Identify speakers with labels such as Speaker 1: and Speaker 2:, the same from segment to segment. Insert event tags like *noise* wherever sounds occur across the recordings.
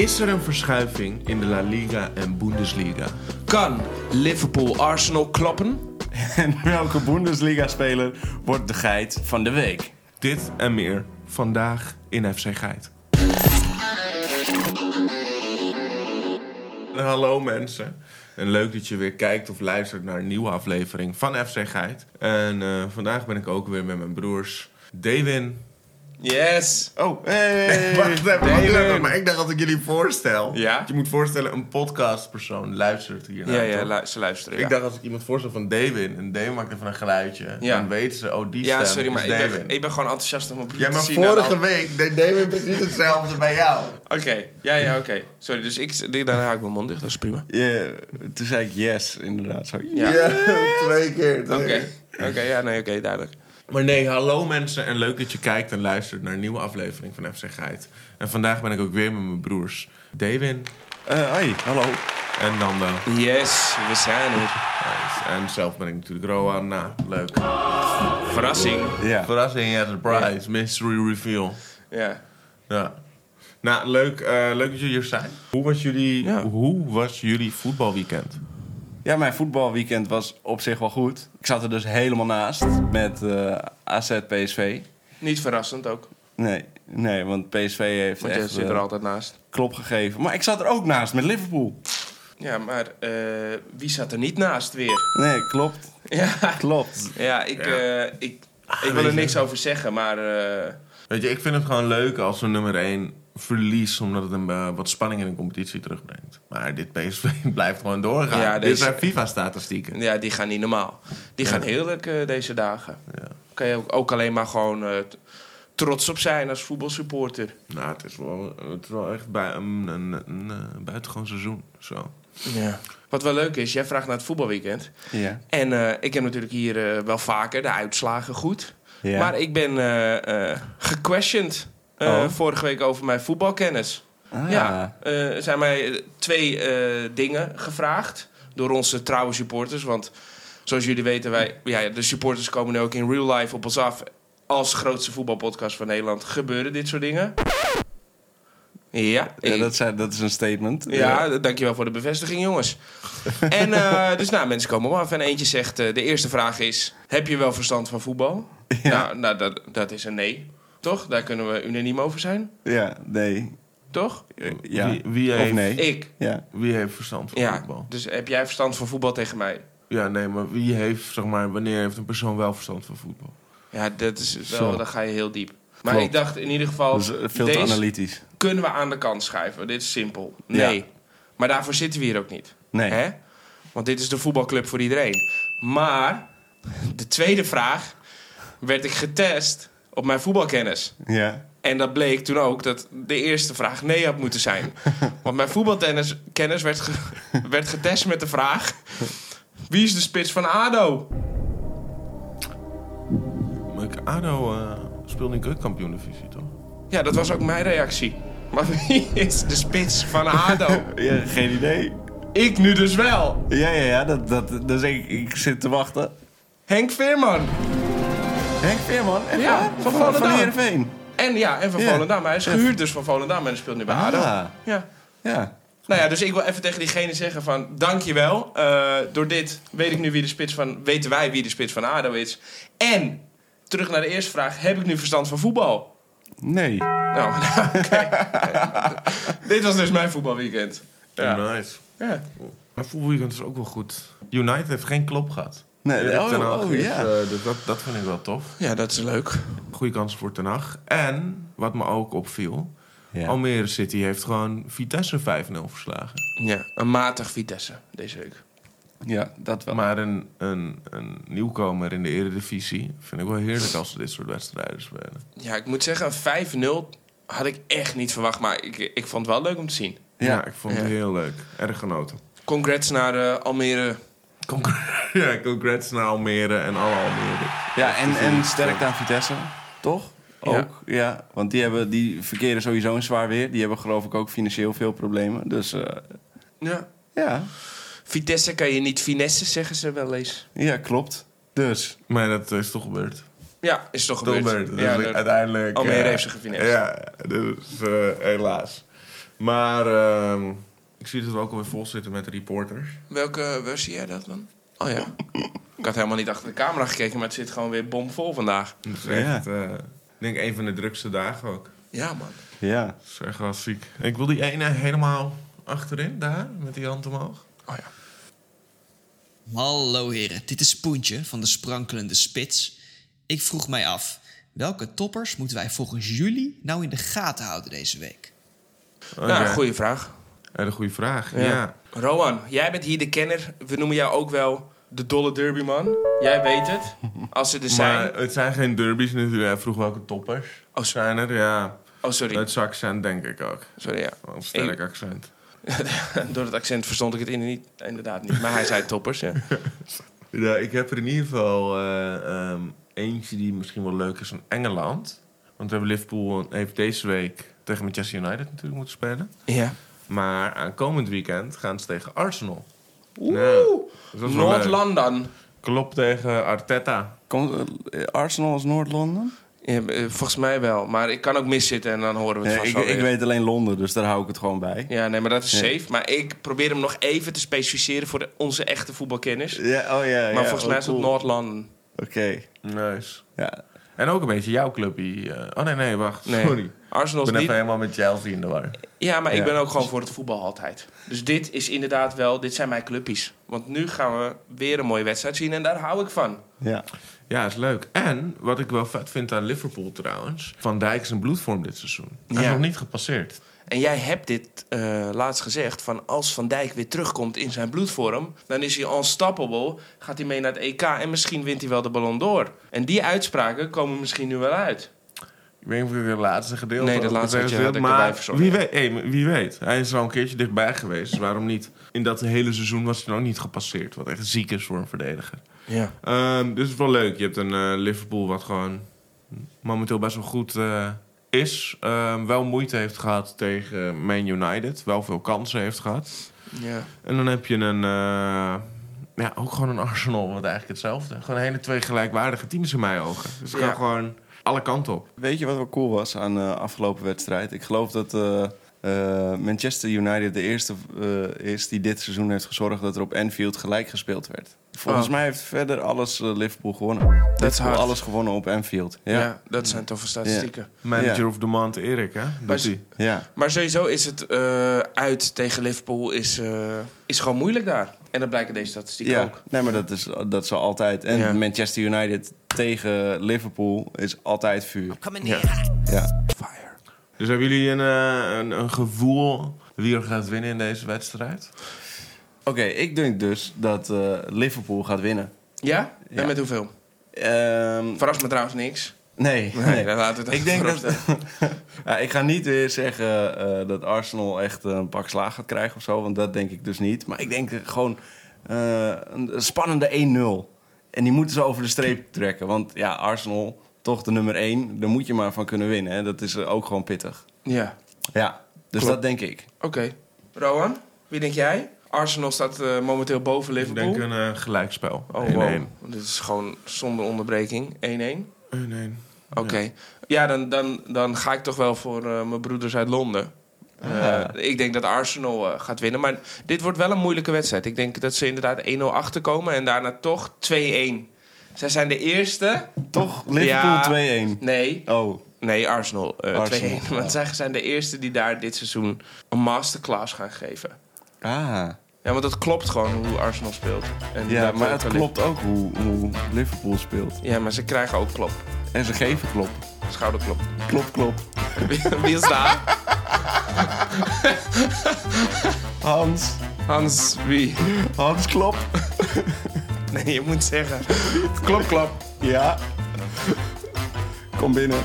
Speaker 1: Is er een verschuiving in de La Liga en *laughs* Bundesliga?
Speaker 2: Kan Liverpool Arsenal kloppen? En welke Bundesliga-speler wordt de geit van de week?
Speaker 1: Dit en meer vandaag in FC Geit. Hallo mensen. En leuk dat je weer kijkt of luistert naar een nieuwe aflevering van FC Geit. En eh, vandaag ben ik ook weer met mijn broers Dewin.
Speaker 2: Yes!
Speaker 1: Oh, hey! *laughs*
Speaker 2: *laughs*
Speaker 1: Wacht even, wacht
Speaker 2: Dewin.
Speaker 1: even. Maar ik dacht dat ik jullie voorstel.
Speaker 2: Ja?
Speaker 1: Je moet voorstellen, een podcastpersoon luistert hier
Speaker 2: Ja, ja, lu- ze luisteren. ja.
Speaker 1: Ik dacht als ik iemand voorstel van Dewin en Dewin maakt even een geluidje,
Speaker 2: Ja.
Speaker 1: dan weten ze, oh die
Speaker 2: ja,
Speaker 1: stem
Speaker 2: sorry,
Speaker 1: is
Speaker 2: maar ik
Speaker 1: Dewin.
Speaker 2: ben, ik ben gewoon enthousiast om mijn broer
Speaker 1: Ja,
Speaker 2: te
Speaker 1: maar
Speaker 2: zien. en
Speaker 1: vorige
Speaker 2: al-
Speaker 1: week deed Dewin precies hetzelfde bij jou.
Speaker 2: Oké, ja, ja, oké. Sorry, dus ik, dit- daar haak ik mijn mond dicht, dat is prima.
Speaker 3: Ja, toen zei ik yes, inderdaad. Zo,
Speaker 2: Ja.
Speaker 1: Ja, twee keer. twee
Speaker 2: Oké,
Speaker 1: keer.
Speaker 2: oké, ja, nee, oké, duidelijk.
Speaker 1: Maar nee, hallo mensen en leuk dat je kijkt en luistert naar een nieuwe aflevering van FC Geit. En vandaag ben ik ook weer met mijn broers Dewin
Speaker 3: Eh, hoi, hallo.
Speaker 1: en Nando.
Speaker 2: Yes, we zijn er.
Speaker 1: En zelf ben ik natuurlijk Roan. Nou, leuk.
Speaker 2: Verrassing.
Speaker 3: Ja.
Speaker 1: Verrassing, ja, surprise, mystery reveal.
Speaker 2: Ja.
Speaker 1: Ja. Nou, leuk, eh, leuk dat jullie hier zijn. Hoe was jullie,
Speaker 2: Ja.
Speaker 1: hoe was jullie voetbalweekend?
Speaker 3: ja, mijn voetbalweekend was op zich wel goed. Ik zat er dus helemaal naast met eh, AZ PSV.
Speaker 2: Niet verrassend ook,
Speaker 3: Nee, nee, want PSV heeft
Speaker 2: want je
Speaker 3: echt
Speaker 2: zit er
Speaker 3: eh,
Speaker 2: altijd naast.
Speaker 3: klop gegeven. Maar ik zat er ook naast met Liverpool.
Speaker 2: Ja, maar eh, wie zat er niet naast weer? *laughs*
Speaker 3: Nee, klopt.
Speaker 2: Ja,
Speaker 3: Klopt.
Speaker 2: ja, ik,
Speaker 1: Ja.
Speaker 2: eh, ik, ik wil
Speaker 1: weet
Speaker 2: er
Speaker 1: je.
Speaker 2: niks over zeggen, maar... eh,
Speaker 1: Weet je, ik vind het gewoon leuk als een nummer 1 verliest, omdat het een, eh, wat spanning in de competitie terugbrengt. Maar dit PSV *laughs* blijft gewoon doorgaan.
Speaker 2: Ja,
Speaker 1: Dit
Speaker 2: deze-
Speaker 1: zijn FIFA-statistieken.
Speaker 2: Ja, die gaan niet normaal. Die gaan heerlijk eh, deze dagen.
Speaker 1: Ja.
Speaker 2: Kan je ook, ook alleen maar gewoon eh, t- trots op zijn als voetbalsupporter.
Speaker 1: Nou, het is wel, het is wel echt bij een, een, een, eh, buitengewoon seizoen. Zo.
Speaker 2: Ja. Wat wel leuk is, jij vraagt naar het voetbalweekend.
Speaker 3: Ja.
Speaker 2: En eh, ik heb natuurlijk hier eh, wel vaker de uitslagen goed.
Speaker 3: Ja.
Speaker 2: Maar ik ben eh eh, gequestioned eh,
Speaker 3: Oh.
Speaker 2: vorige week over mijn voetbalkennis.
Speaker 3: Ah,
Speaker 2: Ja, eh, er zijn mij eh, twee eh, dingen gevraagd door onze trouwe supporters. Want zoals jullie weten, wij, ja, de supporters komen nu ook in real life op ons af. Als grootste voetbalpodcast van Nederland gebeuren dit soort dingen. Ja,
Speaker 3: Ja,
Speaker 2: ik-
Speaker 3: dat, zijn, dat is een statement.
Speaker 2: ja, d- dankjewel voor de bevestiging, jongens. En eh, dus nou, mensen komen op af en eentje zegt... eh, de eerste vraag is, heb je wel verstand van voetbal? Nou, nou dat, dat is een nee, toch? Daar kunnen we unaniem over zijn,
Speaker 3: Ja, nee.
Speaker 2: toch?
Speaker 3: Ja.
Speaker 1: Wie, wie
Speaker 3: Of
Speaker 1: heeft,
Speaker 3: nee.
Speaker 2: Ik,
Speaker 3: Ja.
Speaker 1: Wie heeft verstand van
Speaker 2: ja.
Speaker 1: voetbal?
Speaker 2: Dus heb jij verstand van voetbal tegen mij?
Speaker 1: Ja, nee, maar wie heeft, zeg maar, wanneer heeft een persoon wel verstand van voetbal?
Speaker 2: Ja, dat is wel,
Speaker 3: Zo.
Speaker 2: dan ga je heel diep. Maar
Speaker 3: Klopt.
Speaker 2: ik dacht in ieder geval,
Speaker 3: Dat is eh, veel te
Speaker 2: deze
Speaker 3: analytisch.
Speaker 2: kunnen we aan de kant schuiven. Dit is simpel.
Speaker 3: Ja.
Speaker 2: Nee. Maar daarvoor zitten we hier ook niet.
Speaker 3: Nee.
Speaker 2: Hè? Want dit is de voetbalclub voor iedereen. Maar de tweede vraag werd ik getest op mijn voetbalkennis.
Speaker 3: Ja.
Speaker 2: En dat bleek toen ook dat de eerste vraag nee had moeten
Speaker 3: *laughs*
Speaker 2: zijn. Want mijn voetbalkennis werd, ge- werd getest met de vraag... Wie is de spits van ADO?
Speaker 1: Maar ik- ADO eh, speelt in keukenkampioen-divisie, toch?
Speaker 2: Ja, dat was ook mijn reactie. Maar wie is de spits van ADO?
Speaker 3: ja. Geen idee.
Speaker 2: Ik nu dus wel.
Speaker 3: Ja, ja, ja. Dat, dat, dus ik, ik zit te wachten.
Speaker 2: Henk Veerman.
Speaker 3: Henk Veerman? echt
Speaker 2: Ja,
Speaker 3: waar?
Speaker 2: van
Speaker 3: van
Speaker 2: Volendam.
Speaker 3: Van Heerenveen.
Speaker 2: En ja, en van
Speaker 3: Ja.
Speaker 2: Volendam. Hij is gehuurd dus van Volendam en hij speelt nu bij ADO.
Speaker 3: Ah.
Speaker 2: Ja.
Speaker 3: Ja.
Speaker 2: Nou ja, dus ik wil even tegen diegene zeggen van... Dankjewel. Eh door dit weet ik nu wie de spits van... Weten wij wie de spits van ADO is. En, terug naar de eerste vraag. Heb ik nu verstand van voetbal?
Speaker 3: Nee.
Speaker 2: Nou, *laughs* oké. dit was dus mijn voetbalweekend. Ja.
Speaker 1: Nice.
Speaker 2: Ja.
Speaker 1: Maar voetbalweekend is ook wel goed. United heeft geen klop gehad.
Speaker 3: Nee,
Speaker 1: Erik
Speaker 3: oh,
Speaker 1: ten Hag
Speaker 3: oh,
Speaker 1: is,
Speaker 3: ja.
Speaker 1: eh, dus dat, dat vind ik wel tof.
Speaker 2: ja, dat is leuk.
Speaker 1: Goede kans voor Ten Hag. En, wat me ook opviel...
Speaker 3: Ja.
Speaker 1: Almere City heeft gewoon Vitesse 5-0 verslagen.
Speaker 2: Ja, een matig Vitesse deze week.
Speaker 3: ja, dat wel.
Speaker 1: Maar een, een, een nieuwkomer in de eredivisie... vind ik wel heerlijk als ze dit soort wedstrijden spelen.
Speaker 2: Ja, ik moet zeggen, een 5-0 had ik echt niet verwacht. Maar ik, ik vond het wel leuk om te zien.
Speaker 3: Ja.
Speaker 1: Ja, ik vond het
Speaker 2: Ja.
Speaker 1: heel leuk. Erg genoten.
Speaker 2: Congrats naar eh, Almere.
Speaker 1: Congr- *laughs* ja, congrats naar Almere en alle Almere.
Speaker 3: ja, en, en sterk aan Vitesse, toch?
Speaker 2: Ja.
Speaker 3: Ook, ja. Want die, hebben, die verkeren sowieso een zwaar weer. Die hebben geloof ik ook financieel veel problemen. Dus eh,
Speaker 2: Ja.
Speaker 3: ja.
Speaker 2: Vitesse kan je niet finesse, zeggen ze wel eens.
Speaker 3: ja, klopt. Dus,
Speaker 1: Maar dat is toch gebeurd.
Speaker 2: Ja, is toch
Speaker 1: Toch
Speaker 2: gebeurd.
Speaker 1: gebeurd. Dus
Speaker 2: Ja,
Speaker 1: ik-
Speaker 2: dat-
Speaker 1: uiteindelijk...
Speaker 2: Almere
Speaker 1: eh,
Speaker 2: heeft ze gefinished.
Speaker 1: Ja, dus eh, helaas. Maar ehm, ik zie dat we ook alweer vol zitten met reporters.
Speaker 2: Welke, waar zie jij dat dan? Oh ja. Ik had helemaal niet achter de camera gekeken, maar het zit gewoon weer bomvol vandaag.
Speaker 1: Dat is
Speaker 3: Ja.
Speaker 1: echt, eh, ik denk, een van de drukste dagen ook.
Speaker 2: Ja, man.
Speaker 3: Ja.
Speaker 1: Dat is echt wel ziek. Ik wil die ene helemaal achterin, daar, met die hand omhoog.
Speaker 2: Oh ja.
Speaker 4: Hallo heren, dit is Poentje van de Sprankelende Spits. Ik vroeg mij af, welke toppers moeten wij volgens jullie nou in de gaten houden deze week?
Speaker 1: Oh,
Speaker 2: nou,
Speaker 1: ja.
Speaker 2: goede vraag.
Speaker 1: Hele goede vraag. Ja.
Speaker 2: Rowan, jij bent hier de kenner. We noemen jou ook wel de dolle derbyman. Jij weet het. Als ze er zijn.
Speaker 1: Maar het zijn geen derbies natuurlijk. Hij vroeg welke toppers.
Speaker 2: Oh, sorry.
Speaker 1: zijn er, ja.
Speaker 2: Oh, sorry.
Speaker 1: Het accent denk ik ook.
Speaker 2: Sorry, ja.
Speaker 1: Wel Een sterk accent.
Speaker 2: *laughs* Door het accent verstond ik het in- niet- inderdaad niet. Maar hij zei toppers,
Speaker 3: *laughs*
Speaker 2: ja.
Speaker 1: Ja, ik heb er in ieder geval eh, ehm, eentje die misschien wel leuk is van Engeland. Want we hebben Liverpool eh, heeft deze week tegen Manchester United natuurlijk moeten spelen.
Speaker 2: Ja.
Speaker 1: Maar aankomend weekend gaan ze tegen Arsenal.
Speaker 2: Oeh.
Speaker 1: Dus dat is wel leuk.
Speaker 2: Noord-London.
Speaker 1: Klopt tegen Arteta.
Speaker 3: Komt eh, Arsenal als Noord-Londen?
Speaker 2: Ja, eh, volgens mij wel. Maar ik kan ook miszitten en dan horen we het
Speaker 3: Nee,
Speaker 2: vast
Speaker 3: ik,
Speaker 2: wel weer.
Speaker 3: ik weet alleen Londen, dus daar hou ik het gewoon bij.
Speaker 2: Ja, nee, maar dat is
Speaker 3: Ja.
Speaker 2: safe. Maar ik probeer hem nog even te specificeren voor de- onze echte voetbalkennis.
Speaker 3: Ja, oh ja.
Speaker 2: Maar volgens mij is het Noord-London.
Speaker 3: Oké.
Speaker 1: Nice.
Speaker 3: Ja.
Speaker 1: En ook een beetje jouw clubje. oh nee, nee, wacht.
Speaker 2: Nee.
Speaker 1: Sorry. Ik
Speaker 2: Arsenal is
Speaker 1: ben
Speaker 2: niet...
Speaker 1: even helemaal met Chelsea in de war.
Speaker 2: Ja, maar
Speaker 3: Ja.
Speaker 2: ik ben ook gewoon voor het voetbal altijd. Dus dit is inderdaad wel... Dit zijn mijn clubjes. Want nu gaan we weer een mooie wedstrijd zien. En daar hou ik van.
Speaker 3: Ja.
Speaker 1: Ja, is leuk. En wat ik wel vet vind aan Liverpool trouwens. Van Dijk is een bloedvorm dit seizoen. Hij is
Speaker 2: Ja.
Speaker 1: nog niet gepasseerd.
Speaker 2: En jij hebt dit eh, laatst gezegd: van als Van Dijk weer terugkomt in zijn bloedvorm, dan is hij unstoppable. Gaat hij mee naar het EK en misschien wint hij wel de Ballon d'Or. En die uitspraken komen misschien nu wel uit.
Speaker 1: Ik weet niet of ik het laatste gedeelte...
Speaker 2: Nee, dat
Speaker 1: had
Speaker 2: laatste
Speaker 1: gezegd,
Speaker 2: had je- had ik erbij
Speaker 1: Maar
Speaker 2: verzonnen,
Speaker 1: wie,
Speaker 2: ja.
Speaker 1: weet, hey, maar wie weet. Hij is al een keertje dichtbij geweest. dus waarom niet? In dat hele seizoen was hij nog niet gepasseerd. Wat echt ziek is voor een verdediger.
Speaker 2: Ja.
Speaker 1: Ehm, dus het is wel leuk. Je hebt een eh, Liverpool wat gewoon momenteel best wel goed eh, is. Ehm, wel moeite heeft gehad tegen Man United. Wel veel kansen heeft gehad.
Speaker 2: ja.
Speaker 1: En dan heb je een... eh, ja, ook gewoon een Arsenal, wat eigenlijk hetzelfde. Gewoon hele twee gelijkwaardige teams in mijn ogen. Dus het
Speaker 2: Ja.
Speaker 1: kan gewoon alle kanten op.
Speaker 3: Weet je wat wel cool was aan de afgelopen wedstrijd? Ik geloof dat eh, eh, Manchester United de eerste eh, is die dit seizoen heeft gezorgd dat er op Anfield gelijk gespeeld werd. Volgens
Speaker 2: Oh.
Speaker 3: mij heeft verder alles eh, Liverpool gewonnen. Liverpool
Speaker 2: hard.
Speaker 3: alles gewonnen op Anfield.
Speaker 2: Ja.
Speaker 3: Ja. ja.
Speaker 2: dat zijn toffe statistieken.
Speaker 1: Manager of the Month, Erik, hè?
Speaker 2: Maar
Speaker 1: Doet
Speaker 2: ze-
Speaker 1: hij.
Speaker 2: Maar sowieso is het eh, uit tegen Liverpool is, eh, is gewoon moeilijk daar. En dat blijken deze statistieken
Speaker 3: Ja.
Speaker 2: ook.
Speaker 3: nee, maar dat is, dat zal altijd. En
Speaker 2: Ja.
Speaker 3: Manchester United tegen Liverpool is altijd vuur.
Speaker 1: Ja.
Speaker 3: Ja.
Speaker 2: Fire.
Speaker 1: Dus hebben jullie een, eh, een, een gevoel wie er gaat winnen in deze wedstrijd?
Speaker 3: Oké, ik denk dus dat eh, Liverpool gaat winnen.
Speaker 2: Ja?
Speaker 3: Ja.
Speaker 2: En met hoeveel?
Speaker 3: Ehm,
Speaker 2: Verrast me trouwens niks.
Speaker 3: nee,
Speaker 2: Nee,
Speaker 3: nee.
Speaker 2: dan laten we het
Speaker 3: Ik denk
Speaker 2: voorop
Speaker 3: dat. *laughs* ja, ik ga niet weer zeggen eh, dat Arsenal echt een pak slaag gaat krijgen of zo, want dat denk ik dus niet. Maar ik denk eh, gewoon eh, een een spannende 1-0. En die moeten ze over de streep trekken, want ja, Arsenal, toch de nummer 1, daar moet je maar van kunnen winnen. Hè. Dat is eh, ook gewoon pittig.
Speaker 2: stellen. Ja.
Speaker 3: Ja, dus
Speaker 2: Klopt.
Speaker 3: dat denk ik.
Speaker 2: Oké. Rowan, wie denk jij? Arsenal staat eh, momenteel boven
Speaker 1: Ik
Speaker 2: Liverpool.
Speaker 1: denk een eh, gelijkspel.
Speaker 2: Oh,
Speaker 1: 1-1.
Speaker 2: wow. Dit is gewoon zonder onderbreking. 1-1. Oké.
Speaker 1: 1-1.
Speaker 2: Ja, dan, dan, dan ga ik toch wel voor eh, mijn broeders uit Londen.
Speaker 3: Ah.
Speaker 2: Eh, ik denk dat Arsenal eh, gaat winnen. Maar dit wordt wel een moeilijke wedstrijd. Ik denk dat ze inderdaad 1-0 achterkomen en daarna toch 2-1. Zij zijn de eerste.
Speaker 3: Toch Liverpool
Speaker 2: Ja.
Speaker 3: 2-1.
Speaker 2: Nee,
Speaker 3: Oh,
Speaker 2: nee Arsenal, eh,
Speaker 3: Arsenal,
Speaker 2: 2-1. *laughs* Want zij zijn de eerste die daar dit seizoen een masterclass gaan geven.
Speaker 3: ah.
Speaker 2: Ja, want dat klopt gewoon hoe Arsenal speelt. En
Speaker 3: Ja,
Speaker 2: daar
Speaker 3: maar het
Speaker 2: kan-
Speaker 3: klopt ook hoe, hoe Liverpool speelt.
Speaker 2: Ja, maar ze krijgen ook klop.
Speaker 3: En ze geven klop.
Speaker 2: Schouderklop. *laughs*
Speaker 3: Klop, klop.
Speaker 2: Wie wie is daar?
Speaker 3: Hans,
Speaker 2: Hans, wie? *laughs*
Speaker 3: Hans klop.
Speaker 2: Nee, je moet zeggen. Klop, klop.
Speaker 3: Ja. Kom binnen.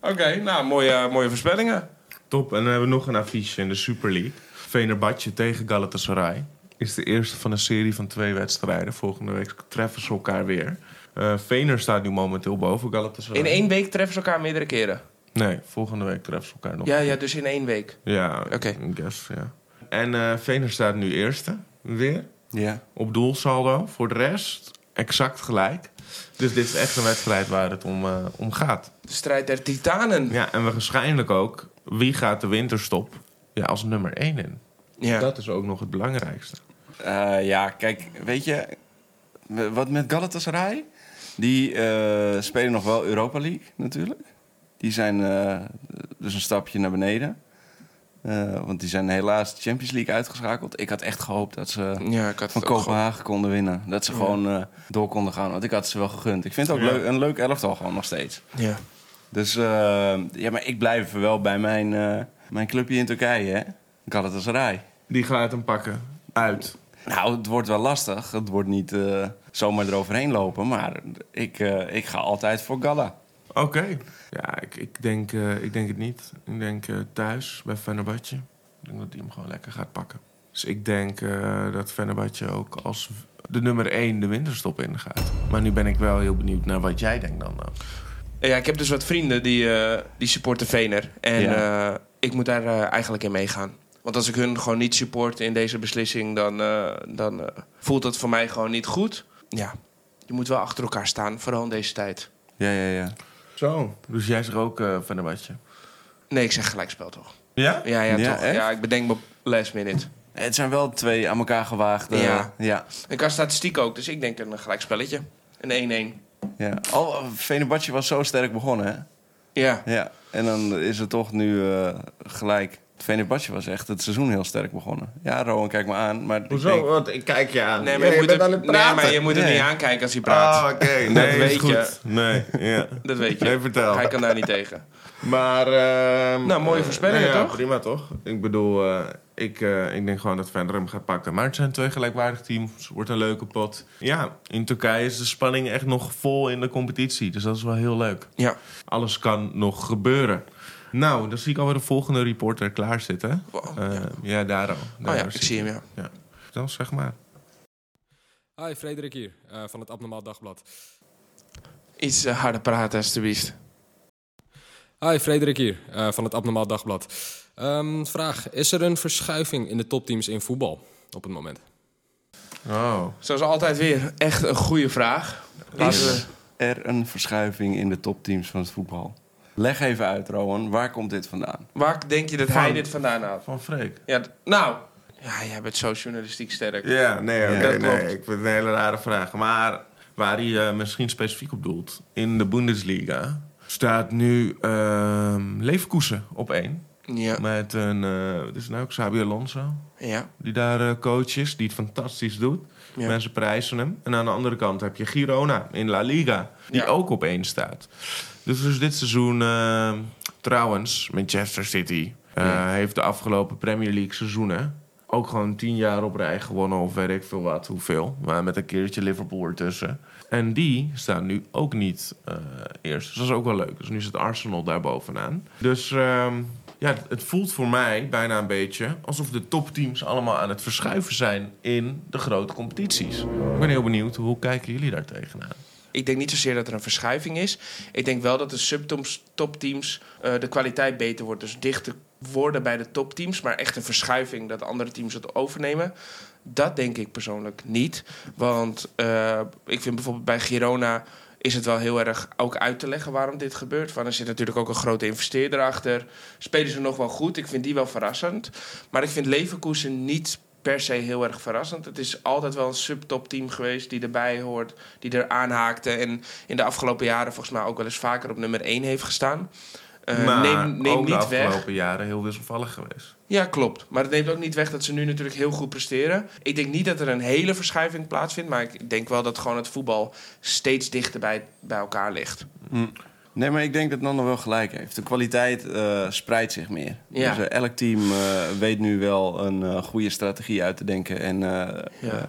Speaker 2: Oké, nou, mooie, mooie voorspellingen.
Speaker 1: Top. En dan hebben we nog een affiche in de Super League. Venerbatje tegen Galatasaray. Is de eerste van een serie van twee wedstrijden. Volgende week treffen ze elkaar weer. Eh Vener staat nu momenteel boven Galatasaray.
Speaker 2: In één week treffen ze elkaar meerdere keren.
Speaker 1: Nee, volgende week treffen ze elkaar nog.
Speaker 2: Ja, ja, dus in één week.
Speaker 1: Ja,
Speaker 2: Oké.
Speaker 1: I guess, ja. En eh Vener staat nu eerste weer.
Speaker 3: Ja.
Speaker 1: Op doelsaldo. Voor de rest exact gelijk. Dus dit is echt een wedstrijd waar het om, eh, om gaat.
Speaker 2: De strijd der titanen.
Speaker 1: Ja, en waarschijnlijk ook, wie gaat de winterstop ja, als nummer één in?
Speaker 2: Ja.
Speaker 1: Dat is ook nog het belangrijkste.
Speaker 3: Eh, ja, kijk, weet je, w- wat met Galatasaray? Die eh, spelen nog wel Europa League natuurlijk. Die zijn eh, dus een stapje naar beneden. Eh, want die zijn helaas de Champions League uitgeschakeld. Ik had echt gehoopt dat ze
Speaker 2: ja, ik had
Speaker 3: van
Speaker 2: het ook gewoon.
Speaker 3: Kopenhagen konden winnen. Dat ze gewoon eh, door konden gaan. Want ik had ze wel gegund. Ik vind het ook
Speaker 1: Ja.
Speaker 3: leuk, een leuk elftal gewoon nog steeds.
Speaker 2: Ja.
Speaker 3: Dus eh, ja, maar ik blijf wel bij mijn, eh, mijn clubje in Turkije, hè. Galatasaray.
Speaker 1: Die gaat hem pakken. Uit.
Speaker 3: Nou, het wordt wel lastig. Het wordt niet eh, zomaar eroverheen lopen. Maar ik, eh, ik ga altijd voor Gala.
Speaker 1: Oké. Ja, ik, ik, denk, eh, ik denk het niet. Ik denk eh, thuis bij Fenerbahce. Ik denk dat die hem gewoon lekker gaat pakken. Dus ik denk eh, dat Fenerbahce ook als v- de nummer 1 de winterstop ingaat. Maar nu ben ik wel heel benieuwd naar wat jij denkt dan. eh.
Speaker 2: ja, ik heb dus wat vrienden die, eh, die supporten Vener. En eh, ik moet daar eh, eigenlijk in meegaan. Want als ik hun gewoon niet support in deze beslissing, dan, eh, dan eh, voelt dat voor mij gewoon niet goed. Ja, je moet wel achter elkaar staan, vooral in deze tijd.
Speaker 3: Ja, ja, ja.
Speaker 1: Zo. Dus jij zegt ook eh Fenerbahce.
Speaker 2: Nee, ik zeg gelijkspel toch?
Speaker 1: Ja?
Speaker 2: Ja, ja,
Speaker 3: Ja,
Speaker 2: toch.
Speaker 3: echt?
Speaker 2: Ja, ik bedenk me op last minute.
Speaker 3: Het zijn wel twee aan elkaar gewaagde...
Speaker 2: Ja.
Speaker 3: ja,
Speaker 2: Ik had statistiek ook, dus ik denk een gelijkspelletje. Een 1-1.
Speaker 3: ja. Al, Fenerbahce was zo sterk begonnen,
Speaker 2: Ja.
Speaker 3: hè? Ja. En dan is het toch nu eh, gelijk... Fenerbahce was echt het seizoen heel sterk begonnen. Ja, Rowan, kijk me aan. Maar ik denk-
Speaker 1: Want ik kijk je aan.
Speaker 2: Nee, maar je, moet hem, nee, maar je moet hem
Speaker 3: Nee.
Speaker 2: niet aankijken als hij praat.
Speaker 1: Ah, oké. Nee,
Speaker 2: *laughs* Dat
Speaker 1: is
Speaker 2: weet
Speaker 1: goed.
Speaker 2: je.
Speaker 1: Nee, ja.
Speaker 2: *laughs* Dat weet je.
Speaker 1: Nee, vertel.
Speaker 2: Hij kan daar niet tegen.
Speaker 1: Maar... ehm,
Speaker 2: Nou, mooie
Speaker 1: eh,
Speaker 2: voorspellingen,
Speaker 1: nou ja,
Speaker 2: toch?
Speaker 1: Prima, toch? Ik bedoel, eh, ik, eh, ik denk gewoon dat Feyenoord hem gaat pakken. Maar het zijn twee gelijkwaardige teams. Het wordt een leuke pot. Ja, in Turkije is de spanning echt nog vol in de competitie. Dus dat is wel heel leuk.
Speaker 2: Ja.
Speaker 1: Alles kan nog gebeuren. Nou, dan zie ik alweer de volgende reporter klaarzitten.
Speaker 2: Wow,
Speaker 1: Eh, ja. daar al.
Speaker 2: Oh
Speaker 1: Daar
Speaker 2: ja, ik
Speaker 1: zit
Speaker 2: zie hem, ja.
Speaker 1: hij. Dan zeg maar.
Speaker 5: Hi, Frederik hier, eh, van het Abnormaal Dagblad.
Speaker 2: Iets eh, harder praten, alstublieft.
Speaker 5: Hi, Frederik hier, eh, van het Abnormaal Dagblad. Ehm, vraag, is er een verschuiving in de topteams in voetbal op het moment?
Speaker 1: Oh.
Speaker 2: Zoals altijd weer, echt een goede vraag. Laten we-
Speaker 3: Is er een verschuiving in de topteams van het voetbal? Leg even uit, Rowan. Waar komt dit vandaan?
Speaker 2: Waar denk je dat hij
Speaker 1: Van-
Speaker 2: dit vandaan haalt?
Speaker 1: Van Freek.
Speaker 2: Ja, d- nou. Ja, jij bent zo journalistiek sterk.
Speaker 1: Ja, nee, oké,
Speaker 3: Ja,
Speaker 2: dat
Speaker 1: nee,
Speaker 2: klopt.
Speaker 1: ik vind het een hele rare vraag. Maar waar hij eh, misschien specifiek op doelt, in de Bundesliga staat nu ehm Leverkusen op één.
Speaker 2: Ja.
Speaker 1: Met een, eh, wat is het nou, Xabi Alonso,
Speaker 2: ja.
Speaker 1: die daar eh, coach is, die het fantastisch doet.
Speaker 2: Ja.
Speaker 1: Mensen prijzen hem. En aan de andere kant heb je Girona in La Liga, die
Speaker 2: Ja.
Speaker 1: ook op één staat. Dus, dus dit seizoen, eh, trouwens, Manchester City eh, heeft de afgelopen Premier League seizoenen ook gewoon tien jaar op rij gewonnen, of weet ik veel wat, hoeveel. Maar met een keertje Liverpool ertussen. En die staan nu ook niet eh, eerst. Dus dat is ook wel leuk. Dus nu zit Arsenal daar bovenaan. Dus ehm, ja, het voelt voor mij bijna een beetje alsof de topteams allemaal aan het verschuiven zijn in de grote competities. Ik ben heel benieuwd, hoe kijken jullie daar tegenaan?
Speaker 2: Ik denk niet zozeer dat er een verschuiving is. Ik denk wel dat de subtopteams eh de kwaliteit beter wordt. Dus dichter worden bij de topteams. Maar echt een verschuiving dat andere teams het overnemen. Dat denk ik persoonlijk niet. Want eh, ik vind bijvoorbeeld bij Girona is het wel heel erg ook uit te leggen waarom dit gebeurt. Van er zit natuurlijk ook een grote investeerder achter. Spelen ze nog wel goed? Ik vind die wel verrassend. Maar ik vind Leverkusen niet per se heel erg verrassend. Het is altijd wel een subtopteam geweest die erbij hoort, die er aanhaakte en in de afgelopen jaren volgens mij ook wel eens vaker op nummer 1 heeft gestaan. Eh,
Speaker 1: maar
Speaker 2: neem neem
Speaker 1: ook de
Speaker 2: niet weg.
Speaker 1: afgelopen jaren heel wisselvallig geweest.
Speaker 2: Ja, klopt. Maar het neemt ook niet weg dat ze nu natuurlijk heel goed presteren. Ik denk niet dat er een hele verschuiving plaatsvindt. Maar ik denk wel dat gewoon het voetbal steeds dichter bij, bij elkaar ligt.
Speaker 3: Nee, maar ik denk dat Nando wel gelijk heeft. De kwaliteit eh, spreidt zich meer.
Speaker 2: Ja.
Speaker 3: Dus eh, elk team eh, weet nu wel een eh, goede strategie uit te denken. En eh,
Speaker 2: Ja.
Speaker 3: eh,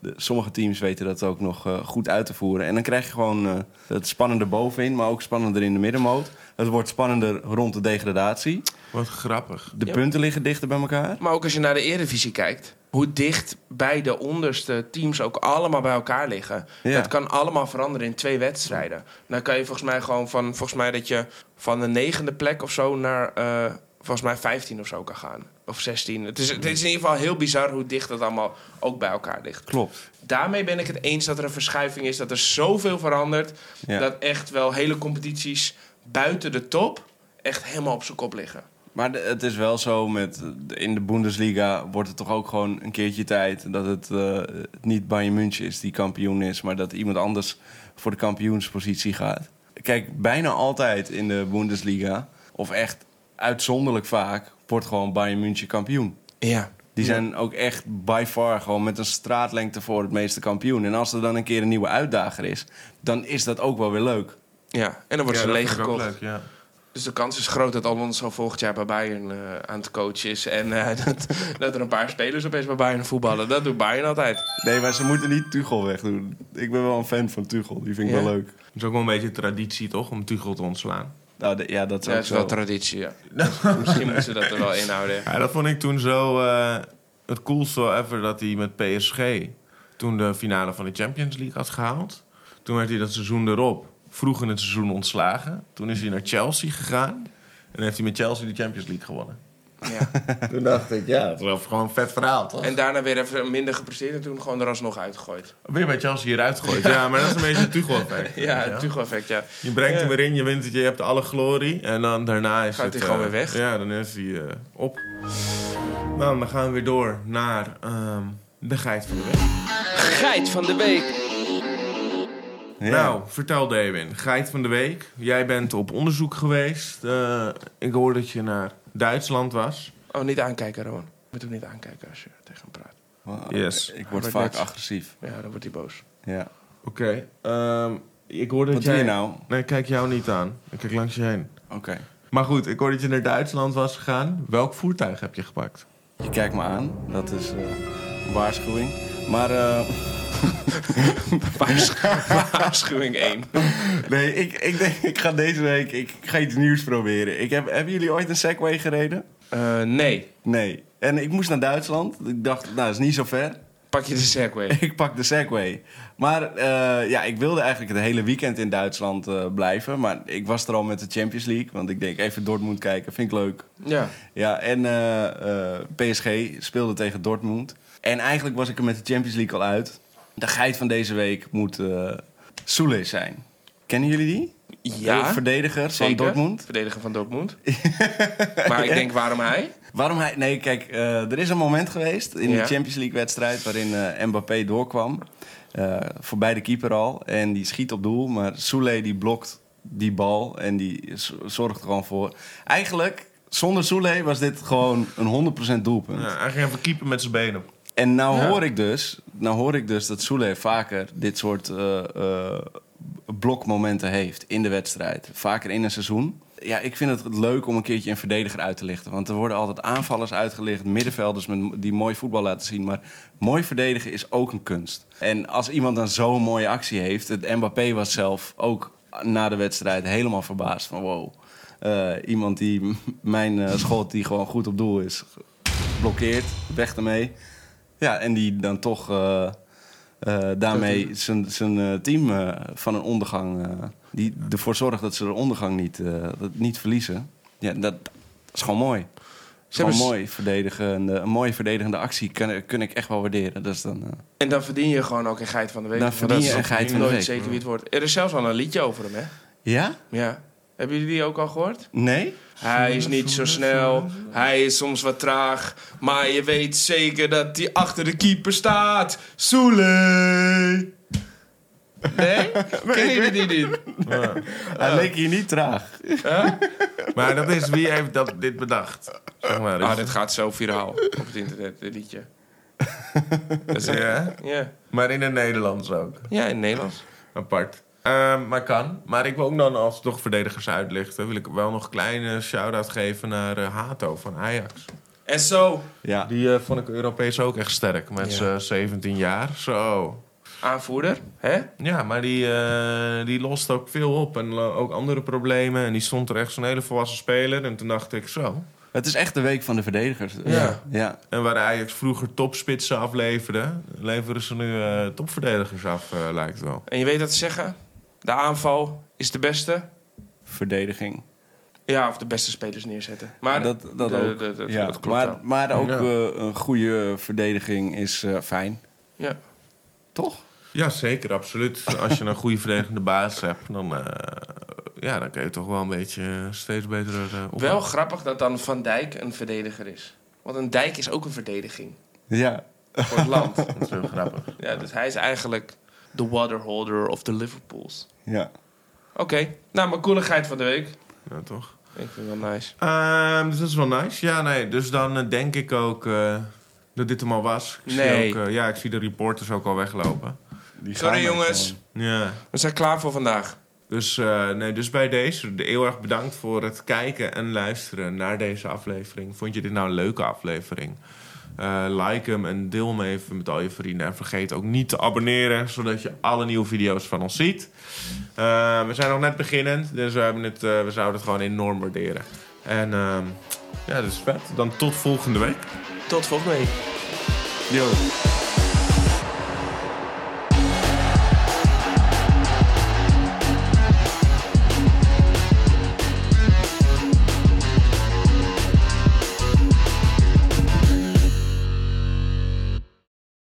Speaker 3: de- sommige teams weten dat ook nog eh, goed uit te voeren. En dan krijg je gewoon eh, het spannender bovenin, maar ook spannender in de middenmoot. Het wordt spannender rond de degradatie.
Speaker 1: Wat grappig.
Speaker 3: De
Speaker 2: Ja.
Speaker 3: punten liggen dichter bij elkaar.
Speaker 2: Maar ook als je naar de Eredivisie kijkt. Hoe dicht bij de onderste teams ook allemaal bij elkaar liggen.
Speaker 3: Ja.
Speaker 2: Dat kan allemaal veranderen in twee wedstrijden. Dan kan je volgens mij gewoon van, volgens mij dat je van de negende plek of zo naar, eh, volgens mij 15 of zo kan gaan. Of 16. Het is, het is in ieder geval heel bizar hoe dicht dat allemaal ook bij elkaar ligt.
Speaker 3: Klopt.
Speaker 2: Daarmee ben ik het eens dat er een verschuiving is. Dat er zoveel verandert.
Speaker 3: Ja.
Speaker 2: Dat echt wel hele competities buiten de top echt helemaal op zijn kop liggen.
Speaker 3: Maar de- het is wel zo met de- in de Bundesliga wordt het toch ook gewoon een keertje tijd dat het eh, niet Bayern München is die kampioen is, maar dat iemand anders voor de kampioenspositie gaat. Kijk, bijna altijd in de Bundesliga, of echt uitzonderlijk vaak, wordt gewoon Bayern München kampioen.
Speaker 2: Ja.
Speaker 3: Die zijn ook echt by far gewoon met een straatlengte voor het meeste kampioen. En als er dan een keer een nieuwe uitdager is, dan is dat ook wel weer leuk.
Speaker 2: ja. En dan worden ze
Speaker 1: dat vind ik ook
Speaker 2: leeggekocht.
Speaker 1: leuk, ja.
Speaker 2: Dus de kans is groot dat Alonso volgend jaar bij Bayern eh, aan het coachen is. En eh, *laughs* dat, dat er een paar spelers opeens bij Bayern voetballen. Dat doet Bayern altijd.
Speaker 3: Nee, maar ze moeten niet Tuchel wegdoen. Ik ben wel een fan van Tuchel, die vind ik
Speaker 2: Ja.
Speaker 3: wel leuk.
Speaker 1: Het is ook wel een beetje traditie, toch? Om Tuchel te ontslaan.
Speaker 3: Nou, de- ja, dat is
Speaker 2: Ja,
Speaker 3: ook
Speaker 2: dat is wel
Speaker 3: zo.
Speaker 2: traditie, ja. Misschien moeten ze dat er wel inhouden.
Speaker 1: Ja, dat vond ik toen zo eh, het coolste ever dat hij met PSG toen de finale van de Champions League had gehaald. Toen werd hij dat seizoen erop vroeg in het seizoen ontslagen. Toen is hij naar Chelsea gegaan en heeft hij met Chelsea de Champions League gewonnen.
Speaker 2: Ja.
Speaker 1: Toen dacht ik, ja, dat is wel gewoon een vet verhaal, toch?
Speaker 2: En daarna weer even minder gepresteerd en toen gewoon er alsnog uitgegooid.
Speaker 1: Weer bij Chelsea hieruit gegooid. Ja, maar dat is een beetje het *laughs* Tuchel-effect.
Speaker 2: Ja,
Speaker 1: weet je
Speaker 2: het
Speaker 1: wel.
Speaker 2: Tuchel-effect, ja.
Speaker 1: Je brengt
Speaker 2: Ja.
Speaker 1: hem erin, je wint het, je hebt alle glorie. En dan daarna is
Speaker 2: Gaat
Speaker 1: het...
Speaker 2: hij gewoon
Speaker 1: eh,
Speaker 2: weer weg?
Speaker 1: Ja, dan is hij eh, op. Nou, dan gaan we weer door naar ehm, de geit van de week.
Speaker 2: Geit van de week.
Speaker 3: Ja.
Speaker 1: Nou, vertel Dewin, geit van de week. Jij bent op onderzoek geweest. Eh, ik hoorde dat je naar Duitsland was.
Speaker 2: Oh, niet aankijken, Rowan. Je moet hem niet aankijken als je tegen hem praat.
Speaker 3: Wow,
Speaker 1: Yes.
Speaker 3: Ik word
Speaker 2: Wordt
Speaker 3: vaak
Speaker 2: niks.
Speaker 3: agressief.
Speaker 2: Ja, dan wordt hij boos. *laughs*
Speaker 3: Ja.
Speaker 1: Oké. ehm, ik hoorde
Speaker 3: Wat
Speaker 1: dat jij...
Speaker 3: doe je nou?
Speaker 1: Nee, ik kijk jou niet aan. Ik kijk langs je heen.
Speaker 3: Oké.
Speaker 1: Maar goed, ik hoorde dat je naar Duitsland was gegaan. Welk voertuig heb je gepakt?
Speaker 3: Je kijkt me aan. Dat is eh, een waarschuwing. Maar eh, *laughs*
Speaker 2: Waarschuwing, waarschuwing 1.
Speaker 3: nee, ik, ik denk, *laughs* ik ga deze week ik ga iets nieuws proberen. Ik heb, hebben jullie ooit een Segway gereden?
Speaker 2: Eh, nee,
Speaker 3: Nee. En ik moest naar Duitsland. Ik dacht, nou, dat is niet zo ver. *laughs*
Speaker 2: pak je de Segway.
Speaker 3: Ik pak de Segway. Maar eh, ja, ik wilde eigenlijk het hele weekend in Duitsland eh, blijven. Maar ik was er al met de Champions League. Want ik denk, even Dortmund kijken, vind ik leuk.
Speaker 2: Ja.
Speaker 3: Ja, en eh, eh, PSG speelde tegen Dortmund. En eigenlijk was ik er met de Champions League al uit. De geit van deze week moet eh Soule zijn. Kennen jullie die? De
Speaker 2: Ja,
Speaker 3: verdediger
Speaker 2: zeker.
Speaker 3: van Dortmund.
Speaker 2: Verdediger van
Speaker 3: *laughs*
Speaker 2: Dortmund. maar ik denk, waarom hij?
Speaker 3: Waarom hij... Nee, kijk, eh, er is een moment geweest in
Speaker 2: Ja.
Speaker 3: de Champions League-wedstrijd... waarin eh, Mbappé doorkwam. eh, voorbij de keeper al. En die schiet op doel. Maar Soule die blokt die bal. En die z- zorgt er gewoon voor. Eigenlijk, zonder Soule was dit gewoon een 100% doelpunt.
Speaker 1: Ja, hij ging even keeper met zijn benen.
Speaker 3: En nou,
Speaker 2: Ja.
Speaker 3: hoor ik dus, nou hoor ik dus dat Soule vaker dit soort eh, eh, blokmomenten heeft in de wedstrijd. Vaker in een seizoen. Ja, ik vind het leuk om een keertje een verdediger uit te lichten. Want er worden altijd aanvallers uitgelicht, middenvelders met, die mooi voetbal laten zien. Maar mooi verdedigen is ook een kunst. En als iemand dan zo'n mooie actie heeft... Het Mbappé was zelf ook na de wedstrijd helemaal verbaasd van wow. eh, iemand die m- mijn eh, schot, die gewoon goed op doel is, blokkeert, weg ermee. Ja, en die dan toch eh, eh, daarmee zijn, zijn eh, team eh, van een ondergang... eh, die ervoor zorgt dat ze de ondergang niet, eh, dat- niet verliezen. Ja, dat, dat is gewoon mooi.
Speaker 2: Ze
Speaker 3: Is gewoon
Speaker 2: hebben s-
Speaker 3: mooi verdedigende, een mooie verdedigende actie kan, kun ik echt wel waarderen. Dat is dan, eh,
Speaker 2: En dan verdien je gewoon ook een geit van de week.
Speaker 3: Dan
Speaker 2: Want
Speaker 3: verdien
Speaker 2: dat
Speaker 3: je
Speaker 2: is
Speaker 3: een geit van de
Speaker 2: nooit
Speaker 3: week.
Speaker 2: zeker wie het wordt. Er is zelfs al een liedje over hem, hè?
Speaker 3: Ja?
Speaker 2: Ja. Hebben jullie die ook al gehoord?
Speaker 3: Nee?
Speaker 2: Hij is niet zo snel, hij is soms wat traag. Maar je weet zeker dat hij achter de keeper staat. Soele!
Speaker 3: *laughs*
Speaker 2: Nee? Kennen jullie die niet?
Speaker 3: Hij leek hier niet traag.
Speaker 1: Maar dat is, wie heeft dat, dit bedacht? Zeg maar. dus-
Speaker 2: Ah, dit gaat zo viraal op het internet, dit liedje. dus-
Speaker 1: ja,
Speaker 2: Ja,
Speaker 1: maar in het Nederlands ook.
Speaker 2: ja in het Nederlands.
Speaker 1: Apart. Ehm, maar kan. Maar ik wil ook dan, als we toch verdedigers uitlichten... wil ik wel nog een kleine shout-out geven naar eh, Hato van Ajax.
Speaker 2: En zo,
Speaker 3: Ja.
Speaker 1: Die eh, vond ik Europees ook echt sterk. Met zijn 17 jaar. Zo.
Speaker 2: aanvoerder, hè?
Speaker 1: Ja, maar die, eh, die lost ook veel op. En lo- ook andere problemen. En die stond er echt zo'n hele volwassen speler. En toen dacht ik zo.
Speaker 3: Het is echt de week van de verdedigers.
Speaker 2: Ja.
Speaker 3: ja.
Speaker 1: En waar Ajax vroeger topspitsen afleverde... leveren ze nu eh, topverdedigers af, eh, lijkt wel.
Speaker 2: En je weet dat te zeggen, de aanval is de beste.
Speaker 3: Verdediging.
Speaker 2: Ja, of de beste spelers neerzetten. Maar
Speaker 3: dat, dat
Speaker 2: de-
Speaker 3: ook.
Speaker 2: de- de-
Speaker 3: ja.
Speaker 2: dat klopt
Speaker 3: maar,
Speaker 2: wel.
Speaker 3: maar ook
Speaker 1: Ja.
Speaker 3: eh, een goede verdediging is eh, fijn.
Speaker 2: Ja.
Speaker 3: Toch?
Speaker 1: Ja, zeker, absoluut. Als je een goede verdedigende baas hebt, dan, eh, ja, dan kun je toch wel een beetje eh, steeds beter eh, opbouwen.
Speaker 2: Wel grappig dat dan Van Dijk een verdediger is. Want een dijk is ook een verdediging
Speaker 3: Ja.
Speaker 2: voor het land.
Speaker 3: *laughs*
Speaker 1: Dat is heel grappig.
Speaker 2: Ja, dus hij is eigenlijk de waterholder of the Liverpools.
Speaker 3: ja.
Speaker 2: Oké, nou, mijn koeligheid van de week.
Speaker 1: Ja, toch?
Speaker 2: Ik vind het wel nice.
Speaker 1: Ehm, dus dat is wel nice. Ja, nee, dus dan eh, denk ik ook eh, dat dit hem al was. Ik
Speaker 2: Nee.
Speaker 1: Zie ook, eh, ja, ik zie de reporters ook al weglopen.
Speaker 3: Die
Speaker 2: Sorry,
Speaker 3: gaan er
Speaker 2: jongens.
Speaker 3: gewoon.
Speaker 1: Ja.
Speaker 2: We zijn klaar voor vandaag.
Speaker 1: Dus, eh, nee, dus bij deze, de- heel erg bedankt voor het kijken en luisteren naar deze aflevering. Vond je dit nou een leuke aflevering? Eh, like hem en deel hem even met al je vrienden. En vergeet ook niet te abonneren, zodat je alle nieuwe video's van ons ziet. Eh, we zijn nog net beginnend, dus we, hebben het, eh, we zouden het gewoon enorm waarderen. En ehm, ja, dat is vet. Dan tot volgende week.
Speaker 2: Tot volgende week.
Speaker 3: Yo.